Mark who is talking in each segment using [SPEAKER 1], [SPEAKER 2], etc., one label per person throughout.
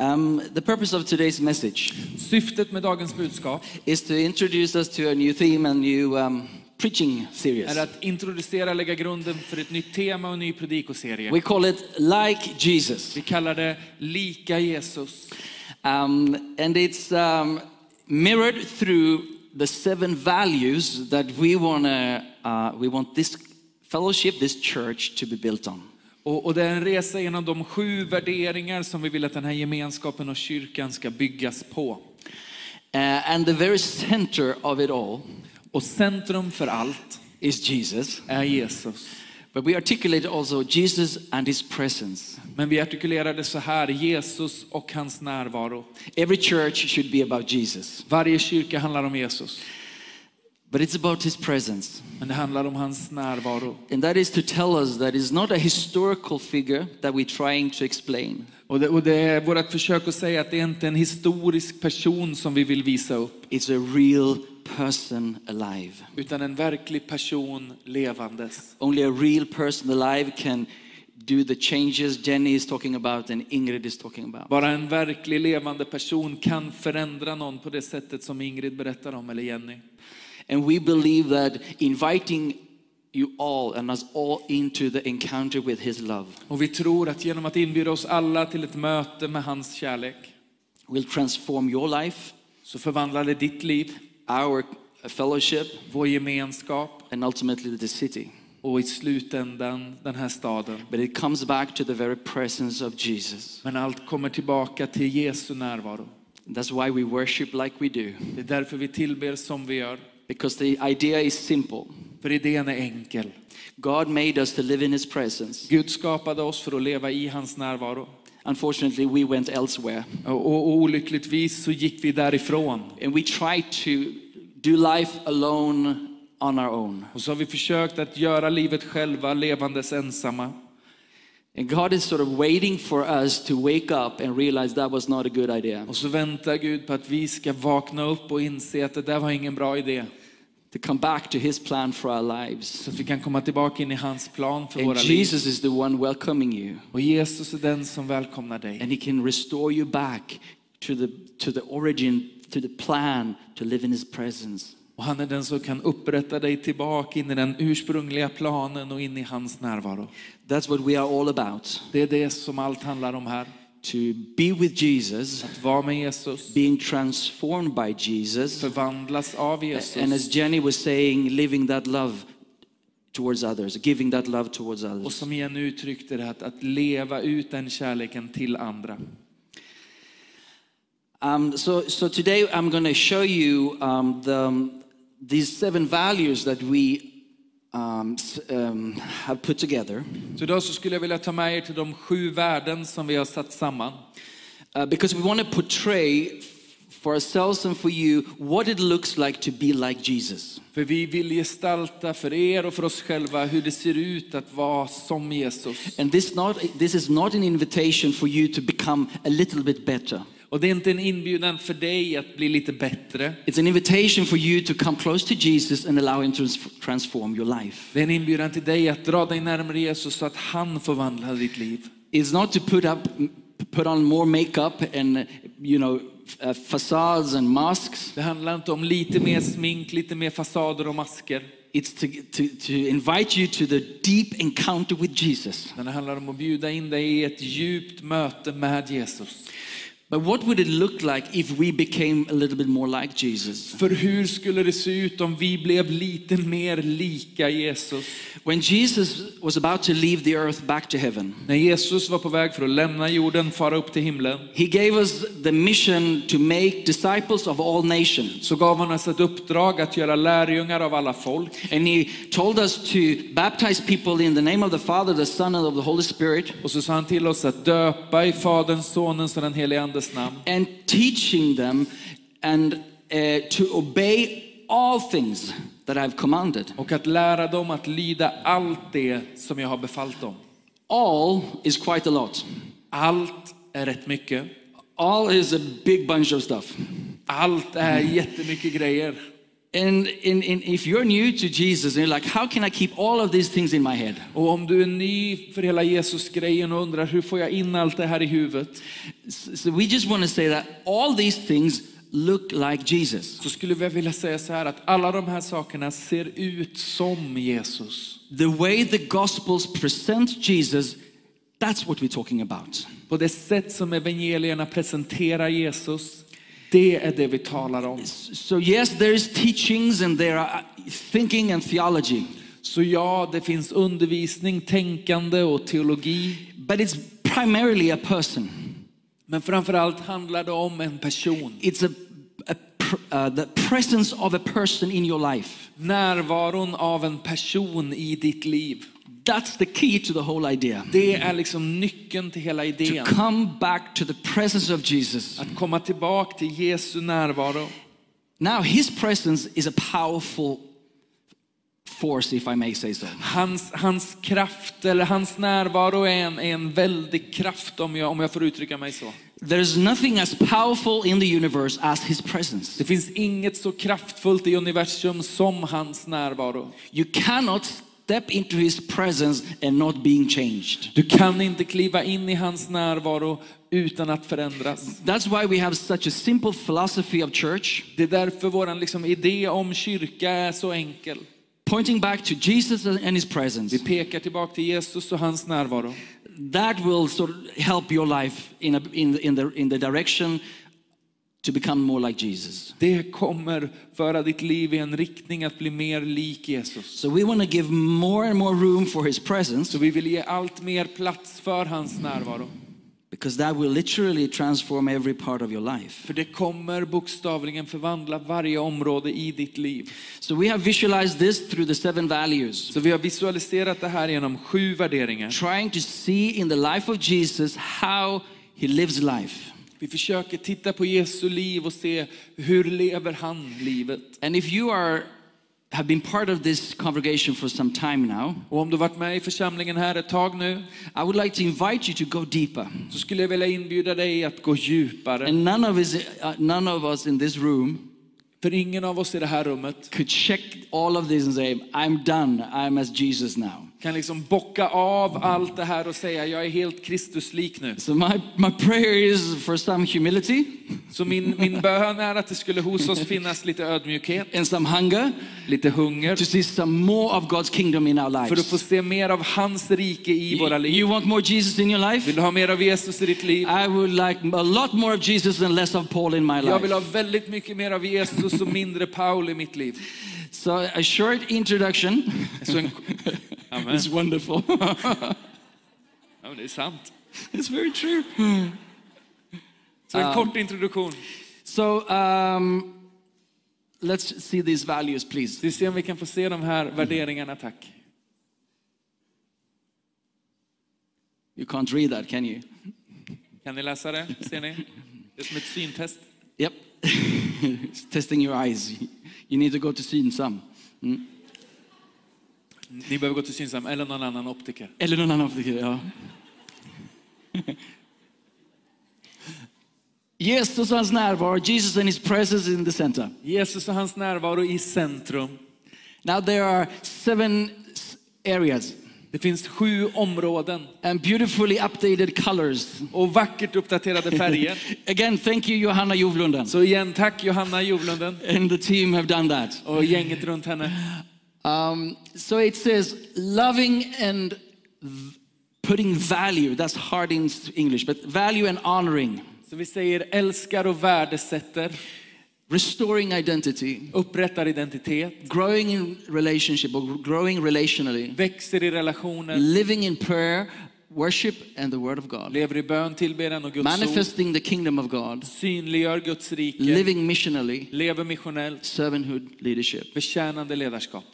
[SPEAKER 1] Um, the purpose of today's message
[SPEAKER 2] Syftet med dagens budskap
[SPEAKER 1] is to introduce us to a new theme and new um, preaching series.
[SPEAKER 2] är att introducera och lägga grunden för ett nytt tema och en ny predikoserie.
[SPEAKER 1] We call it Like Jesus.
[SPEAKER 2] Vi kallar det Lika Jesus.
[SPEAKER 1] Um, and it's um, mirrored through the seven values that we, wanna, uh, we want this fellowship, this church, to be built on.
[SPEAKER 2] Och, och det är en resa genom de sju värderingar som vi vill att den här gemenskapen och kyrkan ska byggas på.
[SPEAKER 1] Uh, and the very center of it all
[SPEAKER 2] Och centrum för allt
[SPEAKER 1] is Jesus.
[SPEAKER 2] är Jesus.
[SPEAKER 1] But we articulate also Jesus and his presence.
[SPEAKER 2] Men vi artikulerar det så här, Jesus och hans närvaro.
[SPEAKER 1] Every church should be about Jesus,
[SPEAKER 2] Varje kyrka handlar om Jesus,
[SPEAKER 1] but it's about his presence.
[SPEAKER 2] men det handlar om hans närvaro.
[SPEAKER 1] And that is to tell us that it's not a historical figure that we're trying to explain,
[SPEAKER 2] Och det, och det är vårt försök att säga att det är inte en historisk person som vi vill visa upp,
[SPEAKER 1] it's a real person alive.
[SPEAKER 2] utan en verklig person levandes.
[SPEAKER 1] Only a real person alive can do the changes Jenny is talking about and Ingrid is talking about.
[SPEAKER 2] Bara en verklig levande person kan förändra någon på det sättet som Ingrid berättar om, eller Jenny.
[SPEAKER 1] And we believe that inviting you all and us all into the encounter with his love
[SPEAKER 2] Och vi tror att genom att inbjuda oss alla till ett möte med hans kärlek,
[SPEAKER 1] will transform your life,
[SPEAKER 2] så förvandlar det ditt liv,
[SPEAKER 1] our fellowship,
[SPEAKER 2] vår gemenskap
[SPEAKER 1] and ultimately the city.
[SPEAKER 2] och i slutändan den här staden.
[SPEAKER 1] But it comes back to the very presence of Jesus.
[SPEAKER 2] Men allt kommer tillbaka till Jesu närvaro.
[SPEAKER 1] That's why we worship like we do.
[SPEAKER 2] Det är därför vi tillber som vi gör.
[SPEAKER 1] Because the idea is simple
[SPEAKER 2] För idén är enkel.
[SPEAKER 1] God made us to live in His presence.
[SPEAKER 2] Gud skapade oss för att leva i hans närvaro.
[SPEAKER 1] Unfortunately, we went elsewhere
[SPEAKER 2] Och, och olyckligtvis så gick vi därifrån.
[SPEAKER 1] and we tried to do life alone on our own.
[SPEAKER 2] Och så har vi försökt att göra livet själva, levandes ensamma.
[SPEAKER 1] And God is sort of waiting for us to wake up and realize that was not a good idea,
[SPEAKER 2] Och så väntar Gud på att vi ska vakna upp och inse att det där var ingen bra idé.
[SPEAKER 1] to come back to His plan for our lives.
[SPEAKER 2] Så att vi kan komma tillbaka in i hans plan för
[SPEAKER 1] And
[SPEAKER 2] våra liv.
[SPEAKER 1] Jesus is the one welcoming you,
[SPEAKER 2] Och Jesus är den som välkomnar dig.
[SPEAKER 1] and He can restore you back to the, to the origin, to the plan to live in His presence.
[SPEAKER 2] Och han är den som kan upprätta dig tillbaka in i den ursprungliga planen och in i hans närvaro.
[SPEAKER 1] That's what we are all about
[SPEAKER 2] Det är det som allt handlar om här.
[SPEAKER 1] to be with Jesus.
[SPEAKER 2] Att vara med Jesus,
[SPEAKER 1] being transformed by Jesus.
[SPEAKER 2] förvandlas av
[SPEAKER 1] And
[SPEAKER 2] Jesus.
[SPEAKER 1] as Jenny was saying, living that love towards others, giving that love towards
[SPEAKER 2] Och
[SPEAKER 1] others.
[SPEAKER 2] som Jenny uttryckte det, att, att leva ut den kärleken till andra.
[SPEAKER 1] Um, so, so today I'm going to show you um, the, these seven values that we um, s- um, have put together.
[SPEAKER 2] Så idag så skulle jag vilja ta med er till de sju värden som vi har satt samman.
[SPEAKER 1] Uh, because we want to portray f- for ourselves and for you what it looks like to be like Jesus.
[SPEAKER 2] För vi vill gestalta för er och för oss själva hur det ser ut att vara som Jesus.
[SPEAKER 1] And this, not, this is not an invitation for you to become a little bit better.
[SPEAKER 2] Och det är inte en inbjudan för dig att bli lite bättre.
[SPEAKER 1] It's an invitation for you to come close to Jesus and allow him to trans- transform your life.
[SPEAKER 2] Det är en inbjudan till dig att dra dig närmare Jesus så att han förvandlar ditt liv.
[SPEAKER 1] It's not to put up put on more makeup and you know uh, facades and masks.
[SPEAKER 2] Det handlar inte om lite mer smink, lite mer fasader och masker.
[SPEAKER 1] It's to, to, to invite you to the deep encounter with Jesus.
[SPEAKER 2] Men det handlar om att bjuda in dig i ett djupt möte med Jesus.
[SPEAKER 1] But what would it look like if we became a little bit more like Jesus?
[SPEAKER 2] För hur skulle det se ut om vi blev lite mer lika Jesus?
[SPEAKER 1] When Jesus was about to leave the earth back to heaven,
[SPEAKER 2] När Jesus var på väg för att lämna jorden, fara upp till himlen,
[SPEAKER 1] he gave us the mission to make disciples of all nations.
[SPEAKER 2] så gav han oss ett uppdrag att göra lärjungar av alla folk.
[SPEAKER 1] And he told us to baptize people in the name of the Father, the Son, and of the Holy Spirit,
[SPEAKER 2] Och så sa han till oss att döpa i Faderns, Sonens och den helige Andes namn.
[SPEAKER 1] and teaching them and uh, to obey all things that I've commanded.
[SPEAKER 2] Och att lära dem att lyda allt det som jag har befallt dem.
[SPEAKER 1] All is quite a lot.
[SPEAKER 2] Allt är rätt mycket.
[SPEAKER 1] All is a big bunch of stuff.
[SPEAKER 2] Allt är jättemycket grejer.
[SPEAKER 1] And in, in, if you're new to Jesus and you're like, how can I keep all of these things in my head?
[SPEAKER 2] Och om du är ny för hela Jesus-grejen och undrar hur får jag in allt det här i huvudet?
[SPEAKER 1] S- So we just want to say that all these things look like Jesus.
[SPEAKER 2] Så skulle jag vilja säga så här att alla de här sakerna ser ut som Jesus.
[SPEAKER 1] The way the Gospels present Jesus, that's what we're talking about.
[SPEAKER 2] På det sätt som evangelierna presenterar Jesus, det är det vi talar om.
[SPEAKER 1] So, yes, there's teachings and there are thinking and theology,
[SPEAKER 2] Så ja, det finns undervisning, tänkande och teologi.
[SPEAKER 1] but it's primarily a person.
[SPEAKER 2] Men framförallt handlar det om en person.
[SPEAKER 1] It's a, a pr- uh, the presence of a person in your life.
[SPEAKER 2] Närvaron av en person i ditt liv.
[SPEAKER 1] That's the key to the whole idea.
[SPEAKER 2] Det är liksom nyckeln till hela
[SPEAKER 1] To
[SPEAKER 2] idén.
[SPEAKER 1] come back to the presence of Jesus.
[SPEAKER 2] Att komma tillbaka till Jesu närvaro.
[SPEAKER 1] Now, his presence is a powerful force, if I may say so.
[SPEAKER 2] Hans, hans kraft, eller hans närvaro är en, är en väldig kraft om jag, om jag får uttrycka mig så.
[SPEAKER 1] There's nothing as powerful in the universe as his presence.
[SPEAKER 2] Det finns inget så kraftfullt i universum som hans närvaro.
[SPEAKER 1] You cannot step into his presence and not being changed.
[SPEAKER 2] Du kan inte kliva in i hans närvaro utan att förändras.
[SPEAKER 1] That's why we have such a simple philosophy of church,
[SPEAKER 2] Det är därför vår liksom, idé om kyrka är så enkel.
[SPEAKER 1] pointing back to Jesus and his presence.
[SPEAKER 2] Vi pekar tillbaka till Jesus och hans närvaro.
[SPEAKER 1] That will sort of help your life in, a, in, in, the, in the direction to become more like Jesus.
[SPEAKER 2] Det kommer föra ditt liv i en riktning att bli mer lik Jesus.
[SPEAKER 1] So we want to give more and more room for his presence
[SPEAKER 2] Så vi vill ge allt mer plats för hans närvaro.
[SPEAKER 1] because that will literally transform every part of your life.
[SPEAKER 2] För det kommer bokstavligen förvandla varje område i ditt liv.
[SPEAKER 1] So we have visualized this through the seven values,
[SPEAKER 2] Så vi har visualiserat det här genom sju värderingar.
[SPEAKER 1] trying to see in the life of Jesus how he lives life.
[SPEAKER 2] Vi försöker titta på Jesu liv och se hur lever han livet.
[SPEAKER 1] And if you are have been part of this congregation for some time now,
[SPEAKER 2] Och om du varit med i församlingen här ett tag nu
[SPEAKER 1] I would like to invite you to go deeper.
[SPEAKER 2] så skulle jag vilja inbjuda dig att gå djupare.
[SPEAKER 1] And none of us, uh, none of us in this room
[SPEAKER 2] För ingen av oss i det här rummet
[SPEAKER 1] could check all of this and say, I'm done. I'm as Jesus now.
[SPEAKER 2] kan liksom bocka av allt det här och säga jag är helt Kristuslik nu.
[SPEAKER 1] So my, my prayer is for some humility
[SPEAKER 2] Så min, min bön är att det skulle hos oss finnas lite ödmjukhet,
[SPEAKER 1] and some hunger
[SPEAKER 2] lite hunger.
[SPEAKER 1] to see some more of God's kingdom in our
[SPEAKER 2] För att få
[SPEAKER 1] lives.
[SPEAKER 2] se mer av hans rike i våra
[SPEAKER 1] You,
[SPEAKER 2] liv.
[SPEAKER 1] you want more Jesus in your
[SPEAKER 2] Vill
[SPEAKER 1] life?
[SPEAKER 2] du ha mer av Jesus i ditt liv?
[SPEAKER 1] I would like a lot more of Jesus and less of Paul in my
[SPEAKER 2] Jag vill ha
[SPEAKER 1] life.
[SPEAKER 2] väldigt mycket mer av Jesus och mindre Paul i mitt liv.
[SPEAKER 1] So a short introduction
[SPEAKER 2] Så en... Amen.
[SPEAKER 1] is wonderful.
[SPEAKER 2] Ja, men det är sant.
[SPEAKER 1] it's very true.
[SPEAKER 2] Så en kort introduktion.
[SPEAKER 1] So um, let's see these values, please.
[SPEAKER 2] Vi ser om vi kan få se de här värderingarna, tack.
[SPEAKER 1] You can't read that, can you?
[SPEAKER 2] Kan ni läsa det? Ser ni? Det är som ett syntest.
[SPEAKER 1] Yep. it's testing your eyes. You need to go to Synsam.
[SPEAKER 2] Ni behöver gå till Synsam eller någon annan optiker.
[SPEAKER 1] Eller någon annan optiker, ja. Jesus och hans närvaro, Jesus and his presence in the center.
[SPEAKER 2] Jesus och hans närvaro i centrum.
[SPEAKER 1] Now there are seven s- areas
[SPEAKER 2] Det finns sju områden
[SPEAKER 1] and beautifully updated colors.
[SPEAKER 2] och vackert uppdaterade färger.
[SPEAKER 1] Again, thank you Johanna Jovlunden
[SPEAKER 2] Så igen, tack Johanna Jovlunden
[SPEAKER 1] and the team have done that.
[SPEAKER 2] och gänget runt henne.
[SPEAKER 1] Um, so it says loving and v- putting value. That's hard in s- English, but value and honoring,
[SPEAKER 2] Så vi säger älskar och värdesätter,
[SPEAKER 1] restoring identity,
[SPEAKER 2] upprättar identitet,
[SPEAKER 1] growing in relationship or growing relationally,
[SPEAKER 2] växer i relationer,
[SPEAKER 1] living in prayer, worship, and the word of God,
[SPEAKER 2] lever i bön, tillbedjan och Guds ord,
[SPEAKER 1] manifesting the kingdom of God,
[SPEAKER 2] synliggör Guds rike,
[SPEAKER 1] living missionally,
[SPEAKER 2] lever missionellt,
[SPEAKER 1] servanthood, leadership.
[SPEAKER 2] betjänande ledarskap.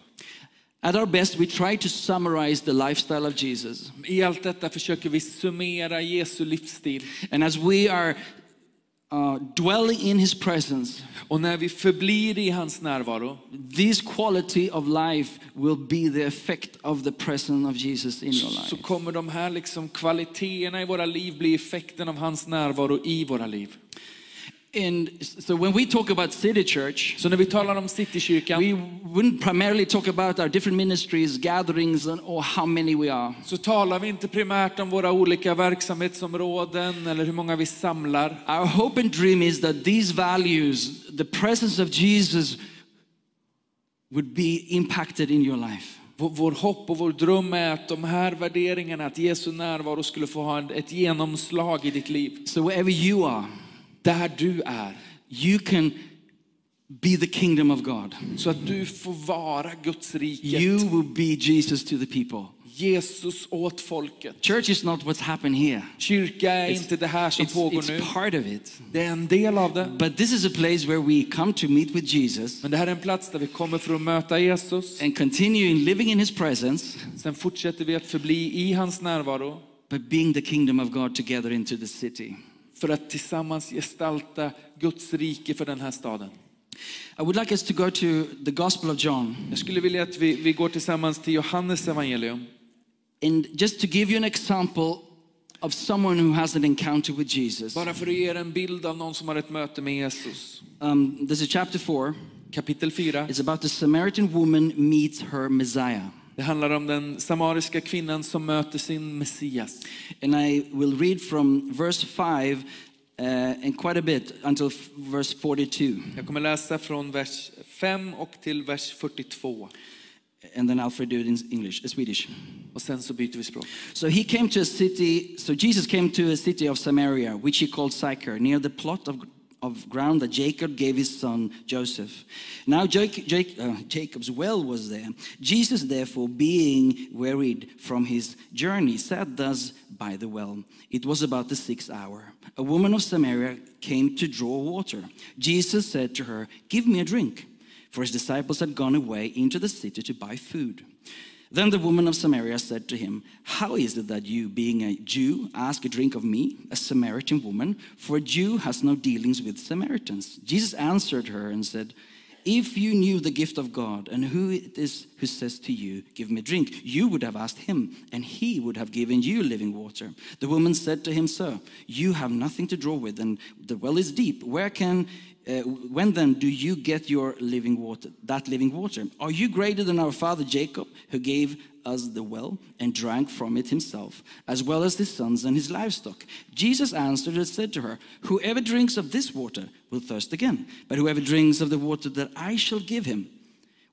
[SPEAKER 1] At our best, we try to summarize the lifestyle of Jesus.
[SPEAKER 2] I allt detta försöker vi summera Jesu livsstil.
[SPEAKER 1] And as we are uh, dwelling in his presence,
[SPEAKER 2] Och när vi förblir i hans närvaro
[SPEAKER 1] This quality of life will be the effect of the presence of Jesus in your life.
[SPEAKER 2] så kommer de här liksom kvaliteterna i våra liv bli effekten av hans närvaro i våra liv.
[SPEAKER 1] And so when we talk about City Church,
[SPEAKER 2] Så när vi talar om Citykyrkan
[SPEAKER 1] we wouldn't primarily talk about our different ministries, gatherings, and, or how many we are.
[SPEAKER 2] så talar vi inte primärt om våra olika verksamhetsområden eller hur många vi samlar.
[SPEAKER 1] Our hope and dream is that these values, the presence of Jesus, would be impacted in your life.
[SPEAKER 2] Vår, vår hopp och vår dröm är att de här värderingarna, att Jesu närvaro skulle få ha en- ett genomslag i ditt liv.
[SPEAKER 1] So wherever you are,
[SPEAKER 2] Där du är.
[SPEAKER 1] you can be the kingdom of God.
[SPEAKER 2] Så att du får vara Guds rike.
[SPEAKER 1] You will be Jesus to the people.
[SPEAKER 2] Jesus åt folket.
[SPEAKER 1] Church is not what's happened here.
[SPEAKER 2] Kyrka är
[SPEAKER 1] It's-
[SPEAKER 2] inte det här som
[SPEAKER 1] It's,
[SPEAKER 2] pågår
[SPEAKER 1] it's
[SPEAKER 2] nu.
[SPEAKER 1] part of it.
[SPEAKER 2] Det är en del av det.
[SPEAKER 1] But this is a place where we come to meet with Jesus
[SPEAKER 2] Men det här är en plats där vi kommer för att möta Jesus.
[SPEAKER 1] and continue in living in his presence,
[SPEAKER 2] Sen fortsätter vi att förbli i hans närvaro
[SPEAKER 1] but being the kingdom of God together into the city.
[SPEAKER 2] för att tillsammans gestalta Guds rike för den här staden.
[SPEAKER 1] I would like us to go to the Gospel of John.
[SPEAKER 2] Jag skulle vilja att vi, vi går tillsammans till Johannes evangelium.
[SPEAKER 1] And just to give you an example of someone who has an encounter with Jesus,
[SPEAKER 2] Bara för att ge er en bild av någon som har ett möte med Jesus.
[SPEAKER 1] um, this is chapter 4.
[SPEAKER 2] Kapitel 4.
[SPEAKER 1] It's about the Samaritan woman meets her Messiah.
[SPEAKER 2] Det handlar om den samariska kvinnan som möter sin Messias.
[SPEAKER 1] And I will read from verse 5 uh, and quite a bit until f- verse 42.
[SPEAKER 2] Jag kommer läsa från vers 5 och till vers 42.
[SPEAKER 1] And then Alfred do it in English, uh, Swedish.
[SPEAKER 2] Och sen så byter vi språk.
[SPEAKER 1] So he came to a city, so Jesus came to a city of Samaria, which he called Sychar, near the plot of, of ground that Jacob gave his son Joseph. Now Jac- Jac- uh, Jacob's well was there. Jesus, therefore, being wearied from his journey, sat thus by the well. It was about the sixth hour. A woman of Samaria came to draw water. Jesus said to her, Give me a drink for his disciples had gone away into the city to buy food. Then the woman of Samaria said to him, How is it that you, being a Jew, ask a drink of me, a Samaritan woman? For a Jew has no dealings with Samaritans. Jesus answered her and said, If you knew the gift of God and who it is who says to you, Give me a drink, you would have asked him, and he would have given you living water. The woman said to him, Sir, you have nothing to draw with, and the well is deep. Where can uh, when then do you get your living water that living water are you greater than our father jacob who gave us the well and drank from it himself as well as his sons and his livestock jesus answered and said to her whoever drinks of this water will thirst again but whoever drinks of the water that i shall give him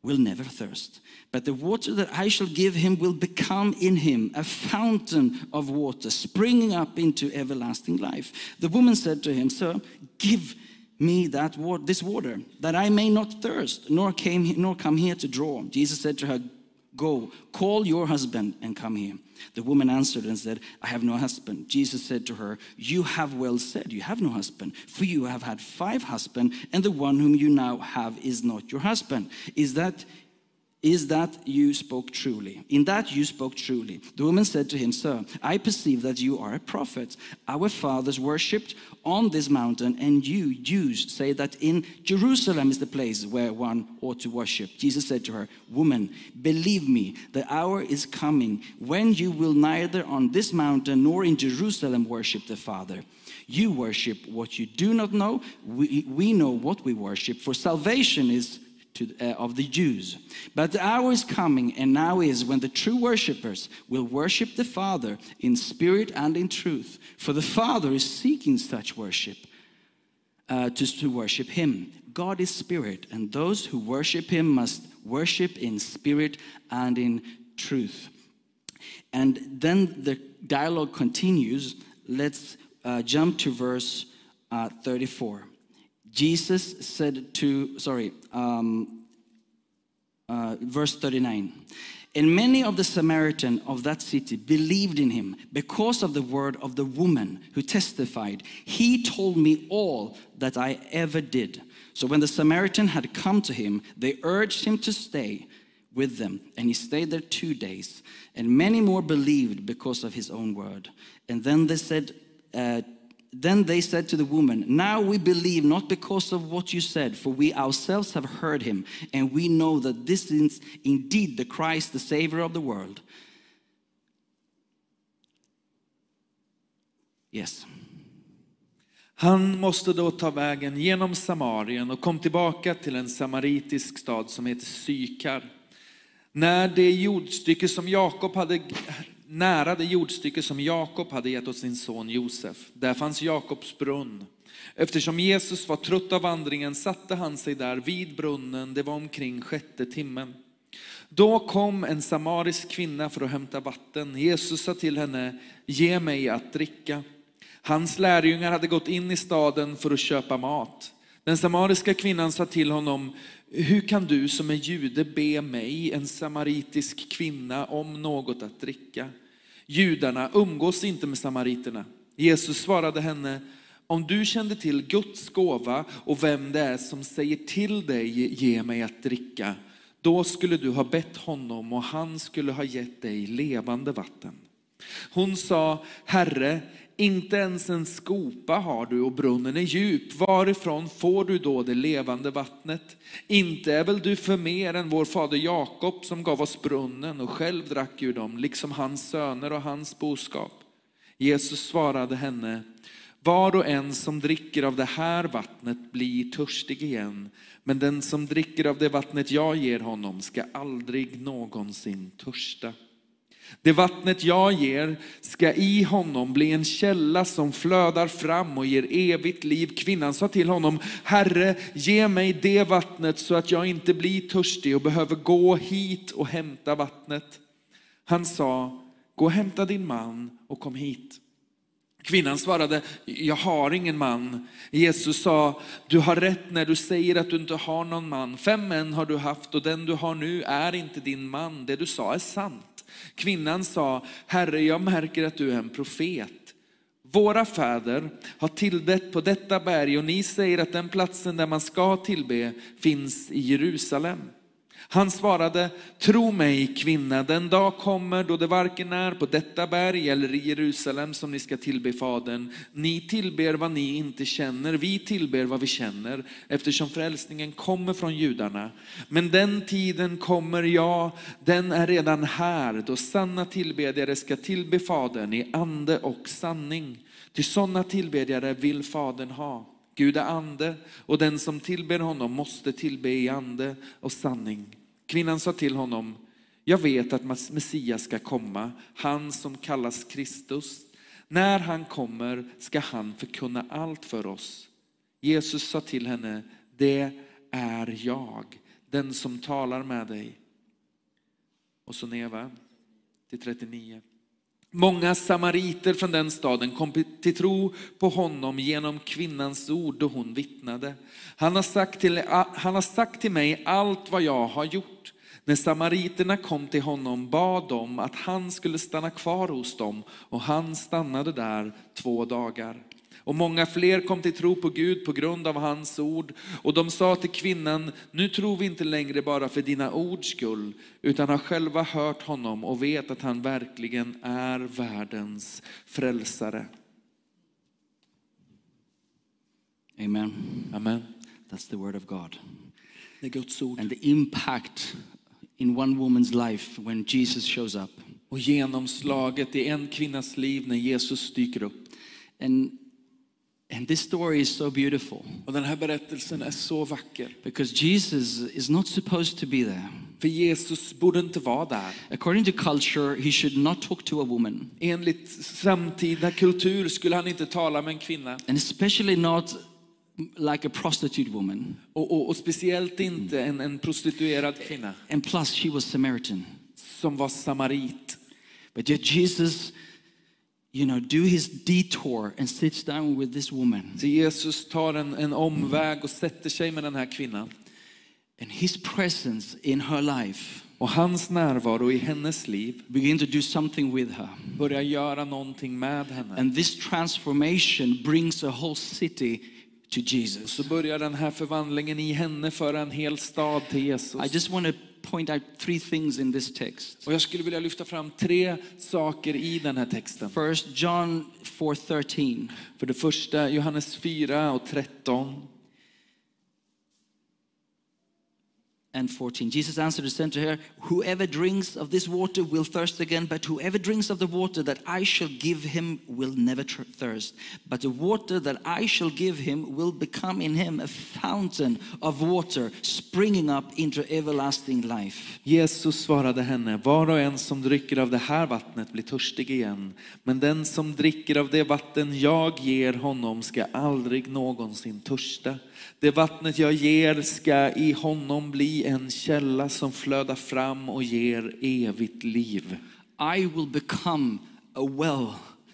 [SPEAKER 1] will never thirst but the water that i shall give him will become in him a fountain of water springing up into everlasting life the woman said to him sir give me that water, this water, that I may not thirst, nor came nor come here to draw. Jesus said to her, Go, call your husband and come here. The woman answered and said, I have no husband. Jesus said to her, You have well said, you have no husband, for you have had five husbands, and the one whom you now have is not your husband. Is that is that you spoke truly? In that you spoke truly. The woman said to him, Sir, I perceive that you are a prophet. Our fathers worshipped on this mountain, and you, Jews, say that in Jerusalem is the place where one ought to worship. Jesus said to her, Woman, believe me, the hour is coming when you will neither on this mountain nor in Jerusalem worship the Father. You worship what you do not know. We, we know what we worship, for salvation is to, uh, of the Jews. But the hour is coming, and now is, when the true worshippers will worship the Father in spirit and in truth. For the Father is seeking such worship, uh, to, to worship Him. God is spirit, and those who worship Him must worship in spirit and in truth. And then the dialogue continues. Let's uh, jump to verse uh, 34. Jesus said to, sorry, um, uh, verse 39. And many of the Samaritan of that city believed in him because of the word of the woman who testified, He told me all that I ever did. So when the Samaritan had come to him, they urged him to stay with them, and he stayed there two days. And many more believed because of his own word. And then they said, uh, then they said to the woman, Now we believe not because of what you said, for we ourselves have heard him, and we know that this is indeed the Christ, the Savior of the world. Yes.
[SPEAKER 2] Han måste då ta vägen genom Samarien och kom tillbaka till en samaritisk stad som heter Sykar. När det jordstycke som Jakob hade nära det jordstycke som Jakob hade gett åt sin son Josef. Där fanns Jakobs brunn. Eftersom Jesus var trött av vandringen satte han sig där vid brunnen. Det var omkring sjätte timmen. Då kom en samarisk kvinna för att hämta vatten. Jesus sa till henne, ge mig att dricka. Hans lärjungar hade gått in i staden för att köpa mat. Den samariska kvinnan sa till honom, hur kan du som är jude be mig, en samaritisk kvinna, om något att dricka? Judarna umgås inte med samariterna. Jesus svarade henne, om du kände till Guds gåva och vem det är som säger till dig, ge mig att dricka, då skulle du ha bett honom och han skulle ha gett dig levande vatten. Hon sa, Herre, inte ens en skopa har du och brunnen är djup. Varifrån får du då det levande vattnet? Inte är väl du för mer än vår fader Jakob som gav oss brunnen och själv drack ur dem, liksom hans söner och hans boskap? Jesus svarade henne, var och en som dricker av det här vattnet blir törstig igen, men den som dricker av det vattnet jag ger honom ska aldrig någonsin törsta. Det vattnet jag ger ska i honom bli en källa som flödar fram och ger evigt liv. Kvinnan sa till honom, Herre, ge mig det vattnet så att jag inte blir törstig och behöver gå hit och hämta vattnet. Han sa, gå och hämta din man och kom hit. Kvinnan svarade, jag har ingen man. Jesus sa, du har rätt när du säger att du inte har någon man. Fem män har du haft och den du har nu är inte din man. Det du sa är sant. Kvinnan sa, Herre, jag märker att du är en profet. Våra fäder har tillbett på detta berg och ni säger att den platsen där man ska tillbe finns i Jerusalem. Han svarade, tro mig kvinna, den dag kommer då det varken är på detta berg eller i Jerusalem som ni ska tillbe Fadern. Ni tillber vad ni inte känner, vi tillber vad vi känner, eftersom frälsningen kommer från judarna. Men den tiden kommer, ja, den är redan här, då sanna tillbedjare ska tillbe Fadern i ande och sanning. Ty sådana tillbedjare vill Fadern ha. Gud är ande och den som tillber honom måste tillbe i ande och sanning. Kvinnan sa till honom, jag vet att Messias ska komma, han som kallas Kristus. När han kommer ska han förkunna allt för oss. Jesus sa till henne, det är jag, den som talar med dig. Och så ner va? till 39. Många samariter från den staden kom till tro på honom genom kvinnans ord då hon vittnade. Han har, sagt till, han har sagt till mig allt vad jag har gjort. När samariterna kom till honom bad de att han skulle stanna kvar hos dem och han stannade där två dagar. Och många fler kom till tro på Gud på grund av hans ord. Och de sa till kvinnan, nu tror vi inte längre bara för dina ords skull, utan har själva hört honom och vet att han verkligen är världens frälsare.
[SPEAKER 1] Amen.
[SPEAKER 2] Amen.
[SPEAKER 1] That's the word of God.
[SPEAKER 2] Det är Guds ord.
[SPEAKER 1] And the impact in one woman's life when Jesus shows up.
[SPEAKER 2] Och genomslaget i en kvinnas liv när Jesus dyker upp.
[SPEAKER 1] And and this story is so beautiful
[SPEAKER 2] Och den här berättelsen är så vacker.
[SPEAKER 1] because Jesus is not supposed to be there.
[SPEAKER 2] För Jesus borde inte vara där.
[SPEAKER 1] According to culture, he should not talk to a woman,
[SPEAKER 2] Enligt samtida kultur skulle han inte tala med en kvinna.
[SPEAKER 1] and especially not like a prostitute woman.
[SPEAKER 2] Och, och, och speciellt inte en, en prostituerad kvinna
[SPEAKER 1] And plus, she was Samaritan.
[SPEAKER 2] som var samarit.
[SPEAKER 1] But yet Jesus, you know, do his detour and sits down with this woman.
[SPEAKER 2] Så Jesus tar en, en omväg och sätter sig med den här kvinnan.
[SPEAKER 1] And his presence in her life
[SPEAKER 2] Och hans närvaro i hennes liv
[SPEAKER 1] begin to do something with her.
[SPEAKER 2] börjar göra någonting med henne.
[SPEAKER 1] And this transformation brings a whole city to Jesus.
[SPEAKER 2] Så börjar den här förvandlingen i henne föra en hel stad till
[SPEAKER 1] I
[SPEAKER 2] Jesus.
[SPEAKER 1] just want to point out three things in this text.
[SPEAKER 2] Och jag skulle vilja lyfta fram tre saker i den här texten.
[SPEAKER 1] First, John 4:13.
[SPEAKER 2] För det första Johannes 4 och 13.
[SPEAKER 1] and 14. Jesus answered and said to her, Whoever drinks of this water will thirst again, but whoever drinks of the water that I shall give him will never tr- thirst. But the water that I shall give him will become in him a fountain of water springing up into everlasting life.
[SPEAKER 2] Jesus svarade henne, var och en som dricker av det här vattnet blir törstig igen, men den som dricker av det vatten jag ger honom ska aldrig någonsin törsta. Det vattnet jag ger ska i honom bli en källa som flödar fram och ger evigt liv.
[SPEAKER 1] I will become a well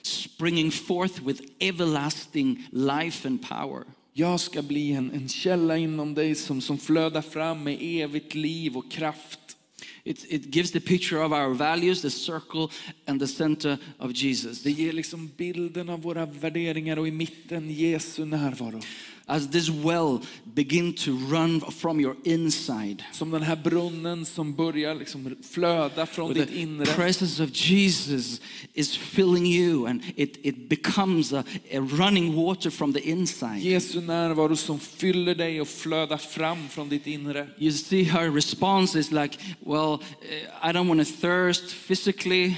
[SPEAKER 1] springing forth with everlasting life and power.
[SPEAKER 2] Jag ska bli en, en källa inom dig som, som flödar fram med evigt liv och kraft.
[SPEAKER 1] It, it gives the picture of our values, the circle, and the center of Jesus.
[SPEAKER 2] Det ger liksom bilden av våra värderingar och i mitten Jesu närvaro.
[SPEAKER 1] As this well begin to run from your inside,
[SPEAKER 2] Som den här brunnen som börjar liksom flöda från ditt
[SPEAKER 1] the
[SPEAKER 2] inre.
[SPEAKER 1] presence of Jesus is filling you, and it, it becomes a, a running water from the inside.
[SPEAKER 2] Jesu närvaro som fyller dig och flödar fram från ditt inre.
[SPEAKER 1] You see, her response is like, Well, eh, I don't want to thirst physically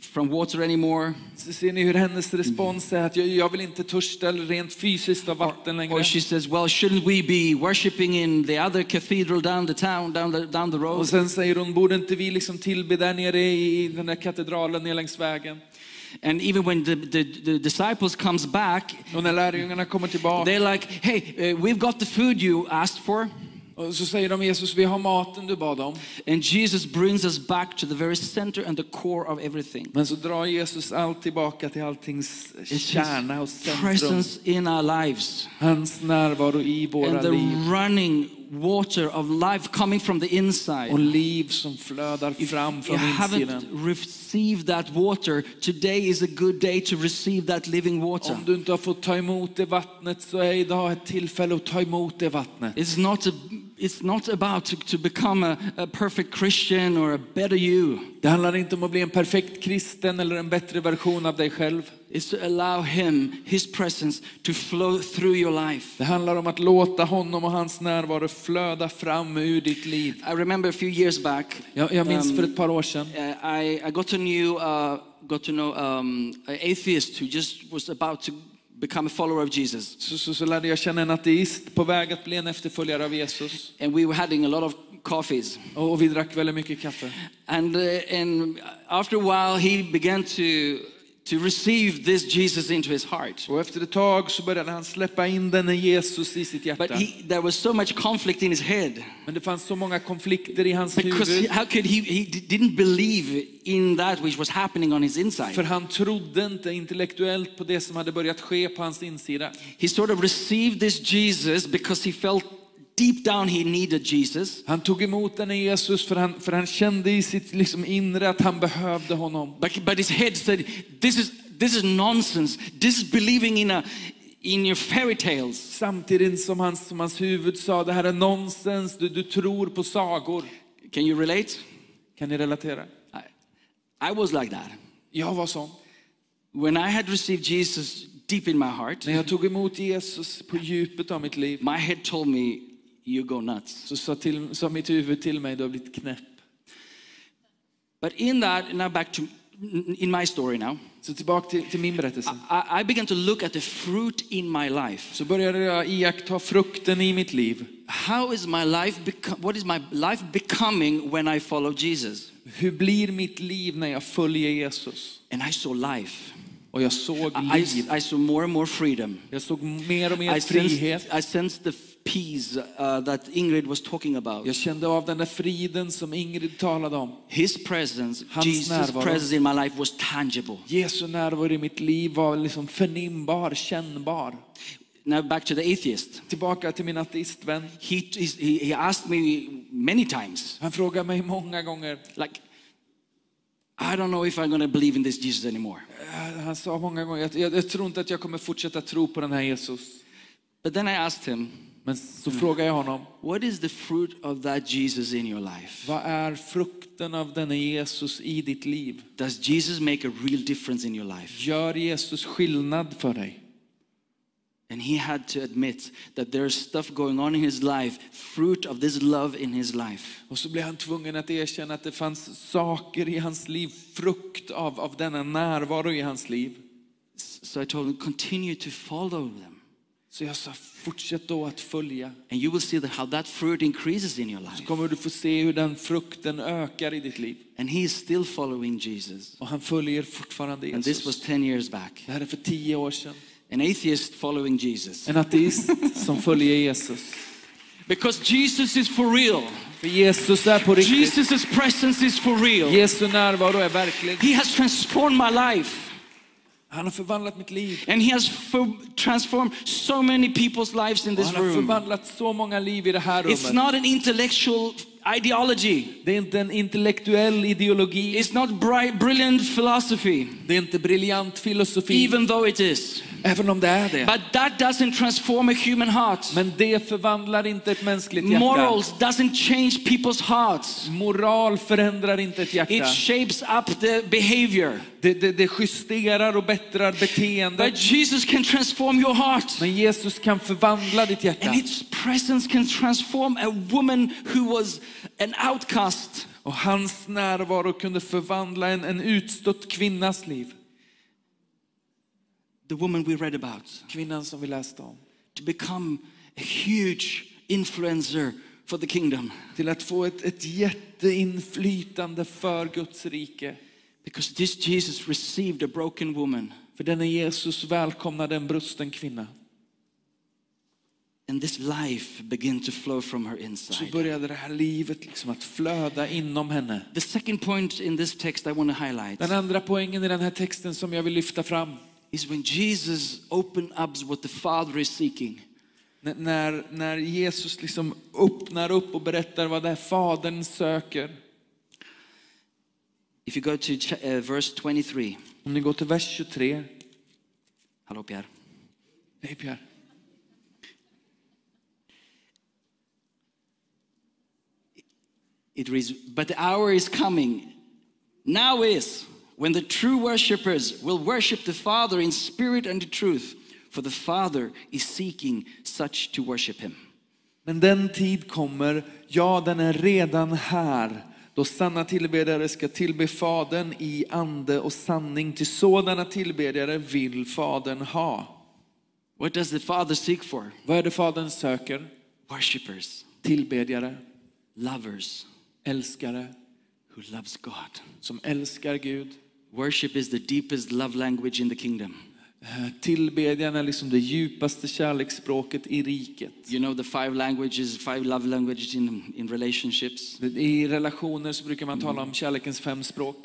[SPEAKER 1] from water anymore.
[SPEAKER 2] Så ser ni hur hennes respons är att jag, jag vill inte törsta eller rent fysiskt av vatten längre.
[SPEAKER 1] Or she says, Well, shouldn't we be worshiping in the other cathedral down the town, down the, down the road?
[SPEAKER 2] Och sen säger hon, borde inte vi liksom tillbe där nere i den där katedralen ner längs vägen?
[SPEAKER 1] And even when the, the, the disciples comes back,
[SPEAKER 2] Och när lärjungarna kommer tillbaka
[SPEAKER 1] they're like, hey, uh, we've got the food you asked for.
[SPEAKER 2] och så säger de Jesus, vi har maten du bad om.
[SPEAKER 1] And Jesus brings us back to the very center and the core of everything.
[SPEAKER 2] Men så drar Jesus allt tillbaka till alltings
[SPEAKER 1] It's
[SPEAKER 2] kärna och
[SPEAKER 1] His
[SPEAKER 2] centrum.
[SPEAKER 1] presence in our lives
[SPEAKER 2] Hans närvaro i våra
[SPEAKER 1] and the
[SPEAKER 2] liv.
[SPEAKER 1] running water of life coming from the
[SPEAKER 2] Och
[SPEAKER 1] inside.
[SPEAKER 2] liv som flödar fram
[SPEAKER 1] If you
[SPEAKER 2] från insidan.
[SPEAKER 1] haven't received that water, today is a good day to receive that living water.
[SPEAKER 2] Om du inte har fått ta emot det vattnet så är idag ett tillfälle att ta emot det vattnet.
[SPEAKER 1] It's not, a, it's not about to, to become a, a perfect Christian or a better you.
[SPEAKER 2] Det handlar inte om att bli en perfekt kristen eller en bättre version av dig själv.
[SPEAKER 1] It's to allow Him, His presence, to flow through your life.
[SPEAKER 2] Det handlar om att låta honom och hans närvaro flöda fram ur ditt liv.
[SPEAKER 1] I remember a few years back,
[SPEAKER 2] Jag, jag minns för ett par år sedan.
[SPEAKER 1] uh, I, I got to knew, uh, got to know um, an atheist who just was about to become a follower of Jesus,
[SPEAKER 2] Så, så, så lärde jag känna en ateist på väg att bli en efterföljare av Jesus.
[SPEAKER 1] and we were having a lot of coffees.
[SPEAKER 2] Och, och vi drack väldigt mycket kaffe.
[SPEAKER 1] And, uh, and after a while, he began to to receive this Jesus into his heart.
[SPEAKER 2] Och efter ett tag så började han släppa in denne Jesus i sitt hjärta.
[SPEAKER 1] But he, there was so much conflict in his head
[SPEAKER 2] Men det fanns så många konflikter i hans
[SPEAKER 1] because
[SPEAKER 2] huvud.
[SPEAKER 1] he- how could he? He d- didn't believe in that which was happening on his
[SPEAKER 2] För
[SPEAKER 1] inside.
[SPEAKER 2] han trodde inte intellektuellt på det som hade börjat ske på hans insida.
[SPEAKER 1] He sort of received this Jesus because he felt deep down he needed Jesus,
[SPEAKER 2] Han tog emot denne Jesus för han, för han kände i sitt liksom inre att han behövde honom.
[SPEAKER 1] but but his head said, "This is this is nonsense. This is believing in a in your fairy tales."
[SPEAKER 2] Samtidigt som hans, som hans huvud sa, det här är nonsens, du, du tror på sagor.
[SPEAKER 1] Can you relate?
[SPEAKER 2] Kan ni relatera?
[SPEAKER 1] I, I was like that
[SPEAKER 2] Jag var sån.
[SPEAKER 1] when I had received Jesus deep in my heart.
[SPEAKER 2] När jag tog emot Jesus på djupet av mitt liv
[SPEAKER 1] My head told me, "You go nuts."
[SPEAKER 2] så sa, till, sa mitt huvud till mig, du har blivit knäpp.
[SPEAKER 1] But in that, now back to in my story now,
[SPEAKER 2] Så tillbaka till, till min berättelse.
[SPEAKER 1] I, I began to look at the fruit in my life.
[SPEAKER 2] Så började jag iaktta frukten i mitt liv.
[SPEAKER 1] How is my life become? What is my life becoming when I follow Jesus?
[SPEAKER 2] Hur blir mitt liv när jag följer Jesus?
[SPEAKER 1] And I saw life.
[SPEAKER 2] Och jag såg
[SPEAKER 1] I,
[SPEAKER 2] liv.
[SPEAKER 1] I- I saw more and more freedom.
[SPEAKER 2] Jag såg mer och mer
[SPEAKER 1] I
[SPEAKER 2] frihet.
[SPEAKER 1] sensed, I sensed the f- peace uh, that Ingrid was talking about.
[SPEAKER 2] Jag kände av den där friden som Ingrid talade om.
[SPEAKER 1] His presence,
[SPEAKER 2] Hans
[SPEAKER 1] Jesus'
[SPEAKER 2] närvaro.
[SPEAKER 1] presence in my life was tangible.
[SPEAKER 2] Jesu närvaro i mitt liv var liksom förnimbar, kännbar.
[SPEAKER 1] Now back to the atheist.
[SPEAKER 2] Tillbaka till min ateistvän.
[SPEAKER 1] He, he, he asked me many times,
[SPEAKER 2] Han frågade mig många gånger.
[SPEAKER 1] like, I don't know if I'm going to believe in this Jesus anymore.
[SPEAKER 2] eh, Han sa många gånger, jag, jag, jag tror inte att jag kommer fortsätta tro på den här Jesus.
[SPEAKER 1] But then I asked him,
[SPEAKER 2] Men så
[SPEAKER 1] Mm.
[SPEAKER 2] frågade jag honom,
[SPEAKER 1] What is the fruit of that Jesus in your life?
[SPEAKER 2] vad är frukten av denne Jesus i ditt liv?
[SPEAKER 1] Does Jesus make a real difference in your life?
[SPEAKER 2] Gör Jesus skillnad för dig?
[SPEAKER 1] And he had to admit that there's stuff going on in his life, fruit of this love in his life.
[SPEAKER 2] Och så blev han tvungen att erkänna att det fanns saker i hans liv, frukt av, av denna närvaro i hans liv.
[SPEAKER 1] So I told him, continue to follow them.
[SPEAKER 2] Så jag sa, fortsätt då att följa.
[SPEAKER 1] And you will see that how that fruit increases in your life.
[SPEAKER 2] Så kommer du få se hur den frukten ökar i ditt liv.
[SPEAKER 1] And he is still following Jesus.
[SPEAKER 2] Och han följer fortfarande
[SPEAKER 1] And this was
[SPEAKER 2] Jesus.
[SPEAKER 1] 10 years back.
[SPEAKER 2] Det här är för tio år sedan.
[SPEAKER 1] An atheist following Jesus.
[SPEAKER 2] En ateist som följer Jesus.
[SPEAKER 1] Because Jesus is for real.
[SPEAKER 2] För Jesus är på riktigt.
[SPEAKER 1] Jesus' presence is for real.
[SPEAKER 2] Jesu närvaro är verklig.
[SPEAKER 1] He has transformed my life.
[SPEAKER 2] Han har förvandlat mitt liv.
[SPEAKER 1] And he has fo- transformed so many people's lives in
[SPEAKER 2] Och
[SPEAKER 1] this
[SPEAKER 2] han har
[SPEAKER 1] room.
[SPEAKER 2] förvandlat så många liv i det här
[SPEAKER 1] It's
[SPEAKER 2] rummet.
[SPEAKER 1] not an intellectual ideology.
[SPEAKER 2] Det är inte en intellektuell ideologi.
[SPEAKER 1] It's not bri- brilliant philosophy,
[SPEAKER 2] Det är inte briljant filosofi.
[SPEAKER 1] even though it is.
[SPEAKER 2] Även om det är det.
[SPEAKER 1] But that doesn't transform a human heart.
[SPEAKER 2] Men det förvandlar inte ett mänskligt hjärta.
[SPEAKER 1] Morals doesn't change people's hearts.
[SPEAKER 2] Moral förändrar inte ett
[SPEAKER 1] It
[SPEAKER 2] hjärta.
[SPEAKER 1] shapes up the behavior.
[SPEAKER 2] Det, det, det justerar och bättrar
[SPEAKER 1] But
[SPEAKER 2] beteendet.
[SPEAKER 1] Jesus can transform your heart.
[SPEAKER 2] Men Jesus kan förvandla ditt hjärta.
[SPEAKER 1] And his presence can transform a woman who was an outcast
[SPEAKER 2] Och hans närvaro kunde förvandla en, en utstött kvinnas liv.
[SPEAKER 1] the woman we read about,
[SPEAKER 2] Kvinnan som vi läste om.
[SPEAKER 1] to become a huge influencer for the kingdom
[SPEAKER 2] Till att få ett, ett jätteinflytande för Guds rike.
[SPEAKER 1] because this Jesus received a broken woman
[SPEAKER 2] För denne Jesus välkomnade en brusten kvinna.
[SPEAKER 1] and this life began to flow from her
[SPEAKER 2] Så
[SPEAKER 1] inside.
[SPEAKER 2] började det här livet liksom att flöda inom henne.
[SPEAKER 1] The second point in this text I want to highlight
[SPEAKER 2] Den andra poängen i den här texten som jag vill lyfta fram.
[SPEAKER 1] is when Jesus opened up what the Father is seeking.
[SPEAKER 2] N- När, när Jesus liksom öppnar upp och berättar vad det är Fadern söker.
[SPEAKER 1] If you go to ch- uh, verse 23,
[SPEAKER 2] Om ni går till vers 23.
[SPEAKER 1] hello Pierre.
[SPEAKER 2] Hej Pierre.
[SPEAKER 1] It reads, But the hour is coming, now is, when the true worshippers will worship the Father in spirit and in truth, for the Father is seeking such to worship him.
[SPEAKER 2] Men den tid kommer, ja den är redan här, då sanna tillbedjare ska tillbe Fadern i ande och sanning. Till sådana tillbedjare vill Fadern ha.
[SPEAKER 1] What does the Father seek for?
[SPEAKER 2] Vad är det Fadern söker?
[SPEAKER 1] Worshippers,
[SPEAKER 2] Tillbedjare,
[SPEAKER 1] lovers
[SPEAKER 2] älskare,
[SPEAKER 1] who loves God.
[SPEAKER 2] som älskar Gud.
[SPEAKER 1] Worship is the deepest love language in the kingdom.
[SPEAKER 2] Eh, Tillbedjan är liksom det djupaste kärleksspråket i riket.
[SPEAKER 1] You know the five languages, five love languages in, in relationships.
[SPEAKER 2] I relationer så brukar man tala om kärlekens fem språk.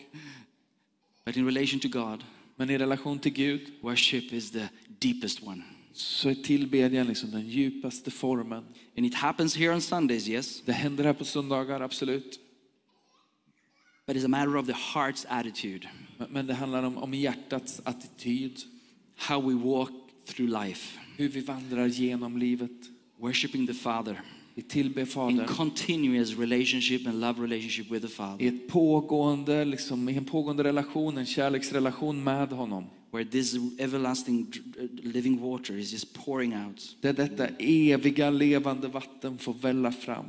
[SPEAKER 1] But in relation to God,
[SPEAKER 2] Men i relation till Gud
[SPEAKER 1] worship is the deepest one.
[SPEAKER 2] så är tillbedjan liksom den djupaste formen.
[SPEAKER 1] And it happens here on Sundays, yes?
[SPEAKER 2] Det händer här på söndagar, absolut.
[SPEAKER 1] but it's a matter of the heart's attitude,
[SPEAKER 2] Men- Men det handlar om, om hjärtats attityd.
[SPEAKER 1] how we walk through life,
[SPEAKER 2] Hur vi vandrar genom livet.
[SPEAKER 1] worshiping the Father
[SPEAKER 2] Vi tillber
[SPEAKER 1] in
[SPEAKER 2] Fadern
[SPEAKER 1] continuous relationship and love relationship with the Father,
[SPEAKER 2] i, ett pågående, liksom, i en pågående relation, en kärleksrelation med honom.
[SPEAKER 1] where this everlasting dr- uh, living water is just pouring out.
[SPEAKER 2] Där detta eviga levande vatten får välla fram.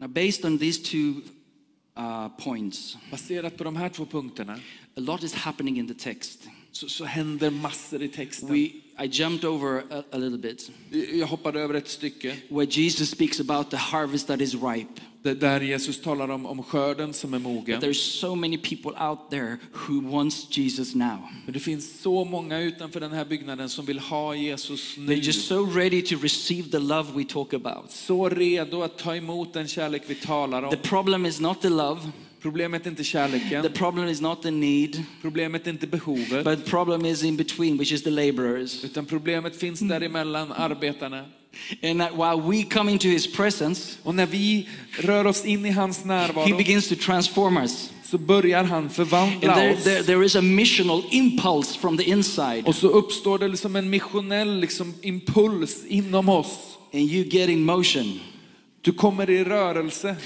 [SPEAKER 1] Now, based on these two uh, points,
[SPEAKER 2] Baserat på de här två punkterna
[SPEAKER 1] a lot is happening in the text.
[SPEAKER 2] så, så händer massor i texten.
[SPEAKER 1] We, I jumped over a, a little bit
[SPEAKER 2] Jag hoppade över ett stycke
[SPEAKER 1] where Jesus speaks about the harvest that is ripe.
[SPEAKER 2] där- där Jesus talar om, om skörden som är mogen.
[SPEAKER 1] There's so many people out there who wants Jesus now.
[SPEAKER 2] Men det finns så många utanför den här byggnaden som vill ha Jesus
[SPEAKER 1] They're
[SPEAKER 2] nu.
[SPEAKER 1] just so ready to receive the love we talk about.
[SPEAKER 2] Så redo att ta emot den kärlek vi talar om.
[SPEAKER 1] The problem is not the love,
[SPEAKER 2] Problemet är inte
[SPEAKER 1] the
[SPEAKER 2] kärleken,
[SPEAKER 1] problem is not the need,
[SPEAKER 2] problemet är inte behovet,
[SPEAKER 1] but the problem is in between, which is the laborers.
[SPEAKER 2] utan problemet finns
[SPEAKER 1] Mm.
[SPEAKER 2] däremellan, arbetarna.
[SPEAKER 1] And that while we come into his presence,
[SPEAKER 2] Och när vi rör oss in i hans
[SPEAKER 1] he
[SPEAKER 2] närvaro
[SPEAKER 1] begins to transform us.
[SPEAKER 2] så börjar han
[SPEAKER 1] And
[SPEAKER 2] förvandla
[SPEAKER 1] there,
[SPEAKER 2] oss.
[SPEAKER 1] there, there is a missional impulse from the inside,
[SPEAKER 2] Och så uppstår det liksom en missionell liksom, impuls inom oss.
[SPEAKER 1] and you get in motion
[SPEAKER 2] Du kommer i rörelse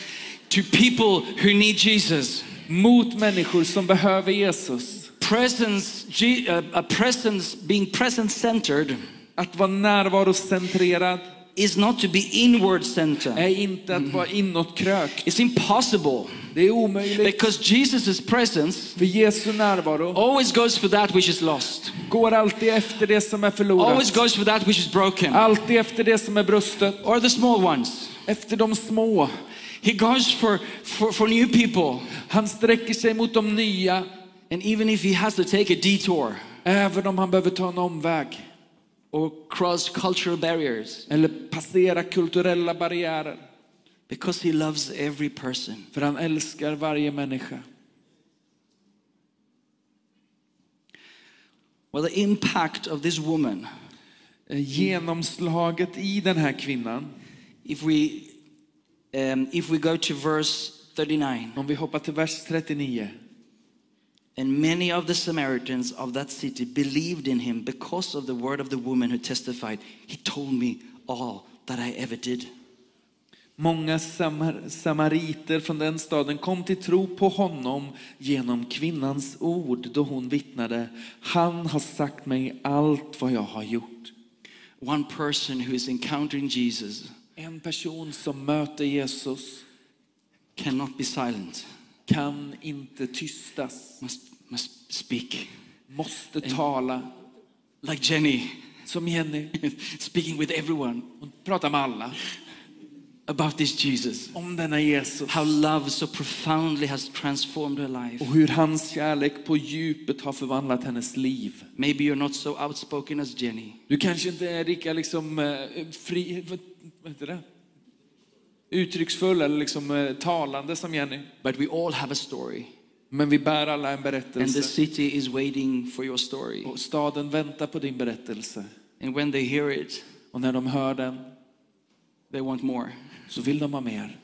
[SPEAKER 1] to people who need Jesus.
[SPEAKER 2] mot människor som behöver Jesus.
[SPEAKER 1] presence, Je- uh, a presence, being present centered
[SPEAKER 2] Att vara närvarocentrerad
[SPEAKER 1] is not to be inward centered.
[SPEAKER 2] är inte att vara inåtkrökt.
[SPEAKER 1] It's impossible
[SPEAKER 2] Det är omöjligt.
[SPEAKER 1] because Jesus' presence
[SPEAKER 2] För Jesu närvaro
[SPEAKER 1] always goes for that which is lost,
[SPEAKER 2] går alltid efter det som är
[SPEAKER 1] always
[SPEAKER 2] förlorat.
[SPEAKER 1] goes for that which is broken,
[SPEAKER 2] Alltid efter det som är brustet.
[SPEAKER 1] or the small ones.
[SPEAKER 2] Efter de små.
[SPEAKER 1] He goes for, for, for new people.
[SPEAKER 2] Han sträcker sig mot de nya,
[SPEAKER 1] And even if he has to take a detour
[SPEAKER 2] även om han behöver ta en omväg.
[SPEAKER 1] or cross cultural barriers,
[SPEAKER 2] Eller passera kulturella barriärer.
[SPEAKER 1] because he loves every person.
[SPEAKER 2] För han älskar varje människa.
[SPEAKER 1] Well, the impact of this woman,
[SPEAKER 2] Eh, Genomslaget i den här kvinnan,
[SPEAKER 1] if we, um, if we go to verse 39,
[SPEAKER 2] om vi hoppar till vers 39.
[SPEAKER 1] and many of the Samaritans of that city believed in him because of the word of the woman who testified, He told me all that I ever did.
[SPEAKER 2] Många samar- samariter från den staden kom till tro på honom genom kvinnans ord då hon vittnade. Han har sagt mig allt vad jag har gjort.
[SPEAKER 1] One person who is encountering Jesus
[SPEAKER 2] En person som möter Jesus
[SPEAKER 1] cannot be silent,
[SPEAKER 2] kan inte tystas,
[SPEAKER 1] must, must speak.
[SPEAKER 2] måste tala.
[SPEAKER 1] Like Jenny,
[SPEAKER 2] Som Jenny,
[SPEAKER 1] speaking with everyone
[SPEAKER 2] hon pratar med alla
[SPEAKER 1] about this Jesus.
[SPEAKER 2] om denna Jesus.
[SPEAKER 1] How love so profoundly has transformed her life.
[SPEAKER 2] Och hur hans kärlek på djupet har förvandlat hennes liv.
[SPEAKER 1] Maybe you're not so outspoken as Jenny.
[SPEAKER 2] Du kanske inte är lika liksom, eh, fri, vad, vad heter det? uttrycksfull eller liksom, eh, talande som Jenny.
[SPEAKER 1] But we all have a story,
[SPEAKER 2] Men vi bär alla en
[SPEAKER 1] and the
[SPEAKER 2] berättelse.
[SPEAKER 1] city is waiting for your story.
[SPEAKER 2] Och staden väntar på din berättelse.
[SPEAKER 1] And when they hear it,
[SPEAKER 2] Och när de hör den
[SPEAKER 1] they want more.
[SPEAKER 2] så vill de ha mer.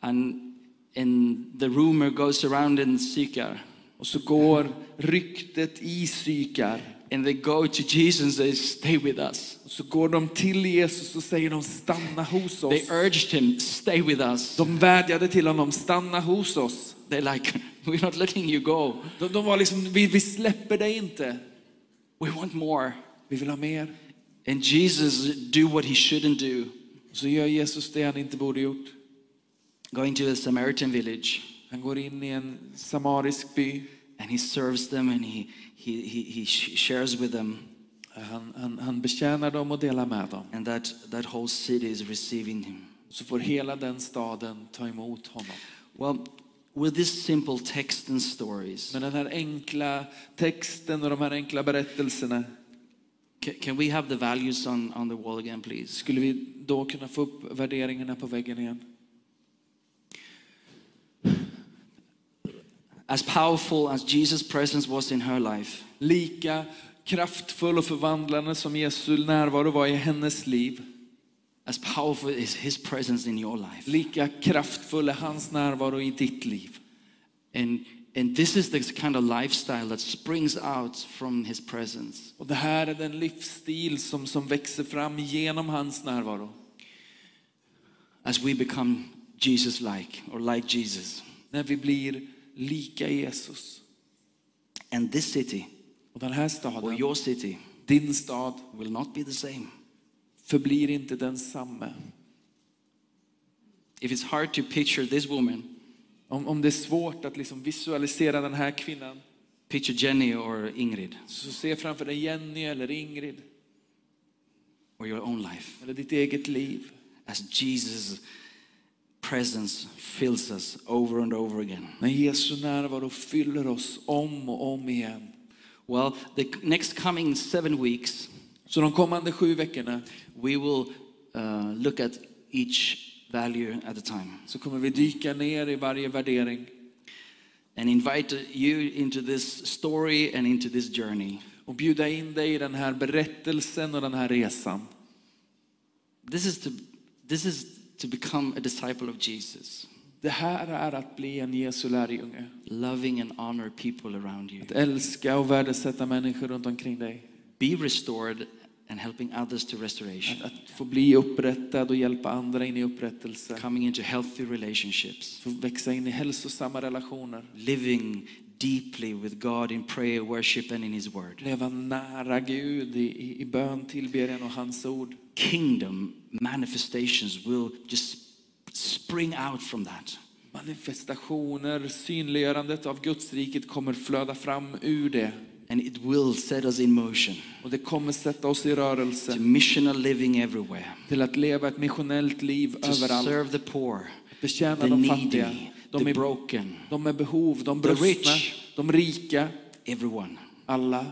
[SPEAKER 1] And, and the rumor goes around in Sychar,
[SPEAKER 2] Och så går ryktet i psykar.
[SPEAKER 1] and they go to Jesus and say, Stay with us.
[SPEAKER 2] Och så går de till Jesus och säger de stanna hos
[SPEAKER 1] They
[SPEAKER 2] oss.
[SPEAKER 1] urged him, Stay with us.
[SPEAKER 2] De vädjade till honom, stanna hos oss.
[SPEAKER 1] They're like, We're not letting you go.
[SPEAKER 2] De, de var liksom, vi, vi släpper dig inte.
[SPEAKER 1] We want more.
[SPEAKER 2] Vi vill ha mer.
[SPEAKER 1] And Jesus do what he shouldn't do,
[SPEAKER 2] Och så gör Jesus det han inte borde gjort.
[SPEAKER 1] going to a Samaritan village.
[SPEAKER 2] Han går in i en samarisk by.
[SPEAKER 1] And he serves them and he, he, he, he sh- shares with them.
[SPEAKER 2] Han, han, han betjänar dem och delar med dem.
[SPEAKER 1] And that, that whole city is receiving him.
[SPEAKER 2] Så får hela den staden ta emot honom.
[SPEAKER 1] Well, with this simple text and stories,
[SPEAKER 2] Men den här enkla texten och de här enkla berättelserna.
[SPEAKER 1] can, can we have the values on, on the wall again, please?
[SPEAKER 2] Skulle vi då kunna få upp värderingarna på väggen igen?
[SPEAKER 1] As powerful as Jesus' presence was in her life,
[SPEAKER 2] Lika kraftfull och förvandlande som Jesu närvaro var i hennes liv.
[SPEAKER 1] as powerful is his presence in your life.
[SPEAKER 2] Lika kraftfull är hans närvaro i ditt liv.
[SPEAKER 1] And, and this is the kind of lifestyle that springs out from his presence.
[SPEAKER 2] Och det här är den livsstil som, som växer fram genom hans närvaro.
[SPEAKER 1] As we become Jesus like or like Jesus.
[SPEAKER 2] När vi blir lika Jesus.
[SPEAKER 1] And this city,
[SPEAKER 2] Och den här
[SPEAKER 1] or
[SPEAKER 2] staden,
[SPEAKER 1] your city,
[SPEAKER 2] din stad,
[SPEAKER 1] will not be the same.
[SPEAKER 2] förblir inte densamme.
[SPEAKER 1] If it's hard to picture this woman,
[SPEAKER 2] Om, om det är svårt att liksom visualisera den här kvinnan,
[SPEAKER 1] picture Jenny or Ingrid
[SPEAKER 2] så se framför dig Jenny eller Ingrid,
[SPEAKER 1] or your own life
[SPEAKER 2] eller ditt eget liv.
[SPEAKER 1] as Jesus' presence fills us over and over again.
[SPEAKER 2] När Jesu närvaro fyller oss om och om igen.
[SPEAKER 1] Well, the next coming seven weeks,
[SPEAKER 2] Så de kommande sju veckorna
[SPEAKER 1] we will uh, look at each value at a time
[SPEAKER 2] så kommer vi dyka ner i varje värdering
[SPEAKER 1] and invite you into this story and into this journey.
[SPEAKER 2] och bjuda in dig i den här berättelsen och den här resan.
[SPEAKER 1] This is to, this is to become a disciple of Jesus,
[SPEAKER 2] Det här är att bli en Jesu lärjunge.
[SPEAKER 1] loving and honor people around you.
[SPEAKER 2] Att älska och värdesätta människor runt omkring dig.
[SPEAKER 1] be restored and helping others to restoration,
[SPEAKER 2] Att, att få bli upprättad och hjälpa andra in i upprättelse.
[SPEAKER 1] coming into healthy relationships,
[SPEAKER 2] Få växa in i hälsosamma relationer.
[SPEAKER 1] living deeply with God in prayer, worship, and in His Word.
[SPEAKER 2] Leva nära Gud i, i, i bön, tillbedjan och hans ord.
[SPEAKER 1] Kingdom manifestations will just spring out from that.
[SPEAKER 2] Manifestationer, synliggörandet av Guds riket kommer flöda fram ur det.
[SPEAKER 1] And it will set us in motion
[SPEAKER 2] Och det kommer sätta oss i
[SPEAKER 1] to
[SPEAKER 2] rörelse
[SPEAKER 1] missional living everywhere,
[SPEAKER 2] till att leva ett missionellt liv
[SPEAKER 1] to
[SPEAKER 2] överallt.
[SPEAKER 1] serve the poor,
[SPEAKER 2] Betjäna
[SPEAKER 1] the
[SPEAKER 2] de fattiga,
[SPEAKER 1] needy,
[SPEAKER 2] de
[SPEAKER 1] the
[SPEAKER 2] är,
[SPEAKER 1] broken,
[SPEAKER 2] de med behov, de
[SPEAKER 1] the
[SPEAKER 2] brustna,
[SPEAKER 1] rich.
[SPEAKER 2] de rika,
[SPEAKER 1] everyone.
[SPEAKER 2] alla.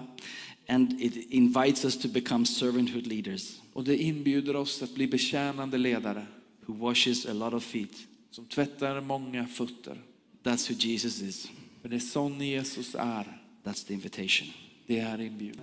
[SPEAKER 1] And it invites us to become servanthood leaders
[SPEAKER 2] Och det inbjuder oss att bli betjänande ledare
[SPEAKER 1] who washes a lot of feet.
[SPEAKER 2] som tvättar många fötter.
[SPEAKER 1] That's who Jesus is.
[SPEAKER 2] För det är sån Jesus är.
[SPEAKER 1] That's the invitation.
[SPEAKER 2] Det är inbjudan.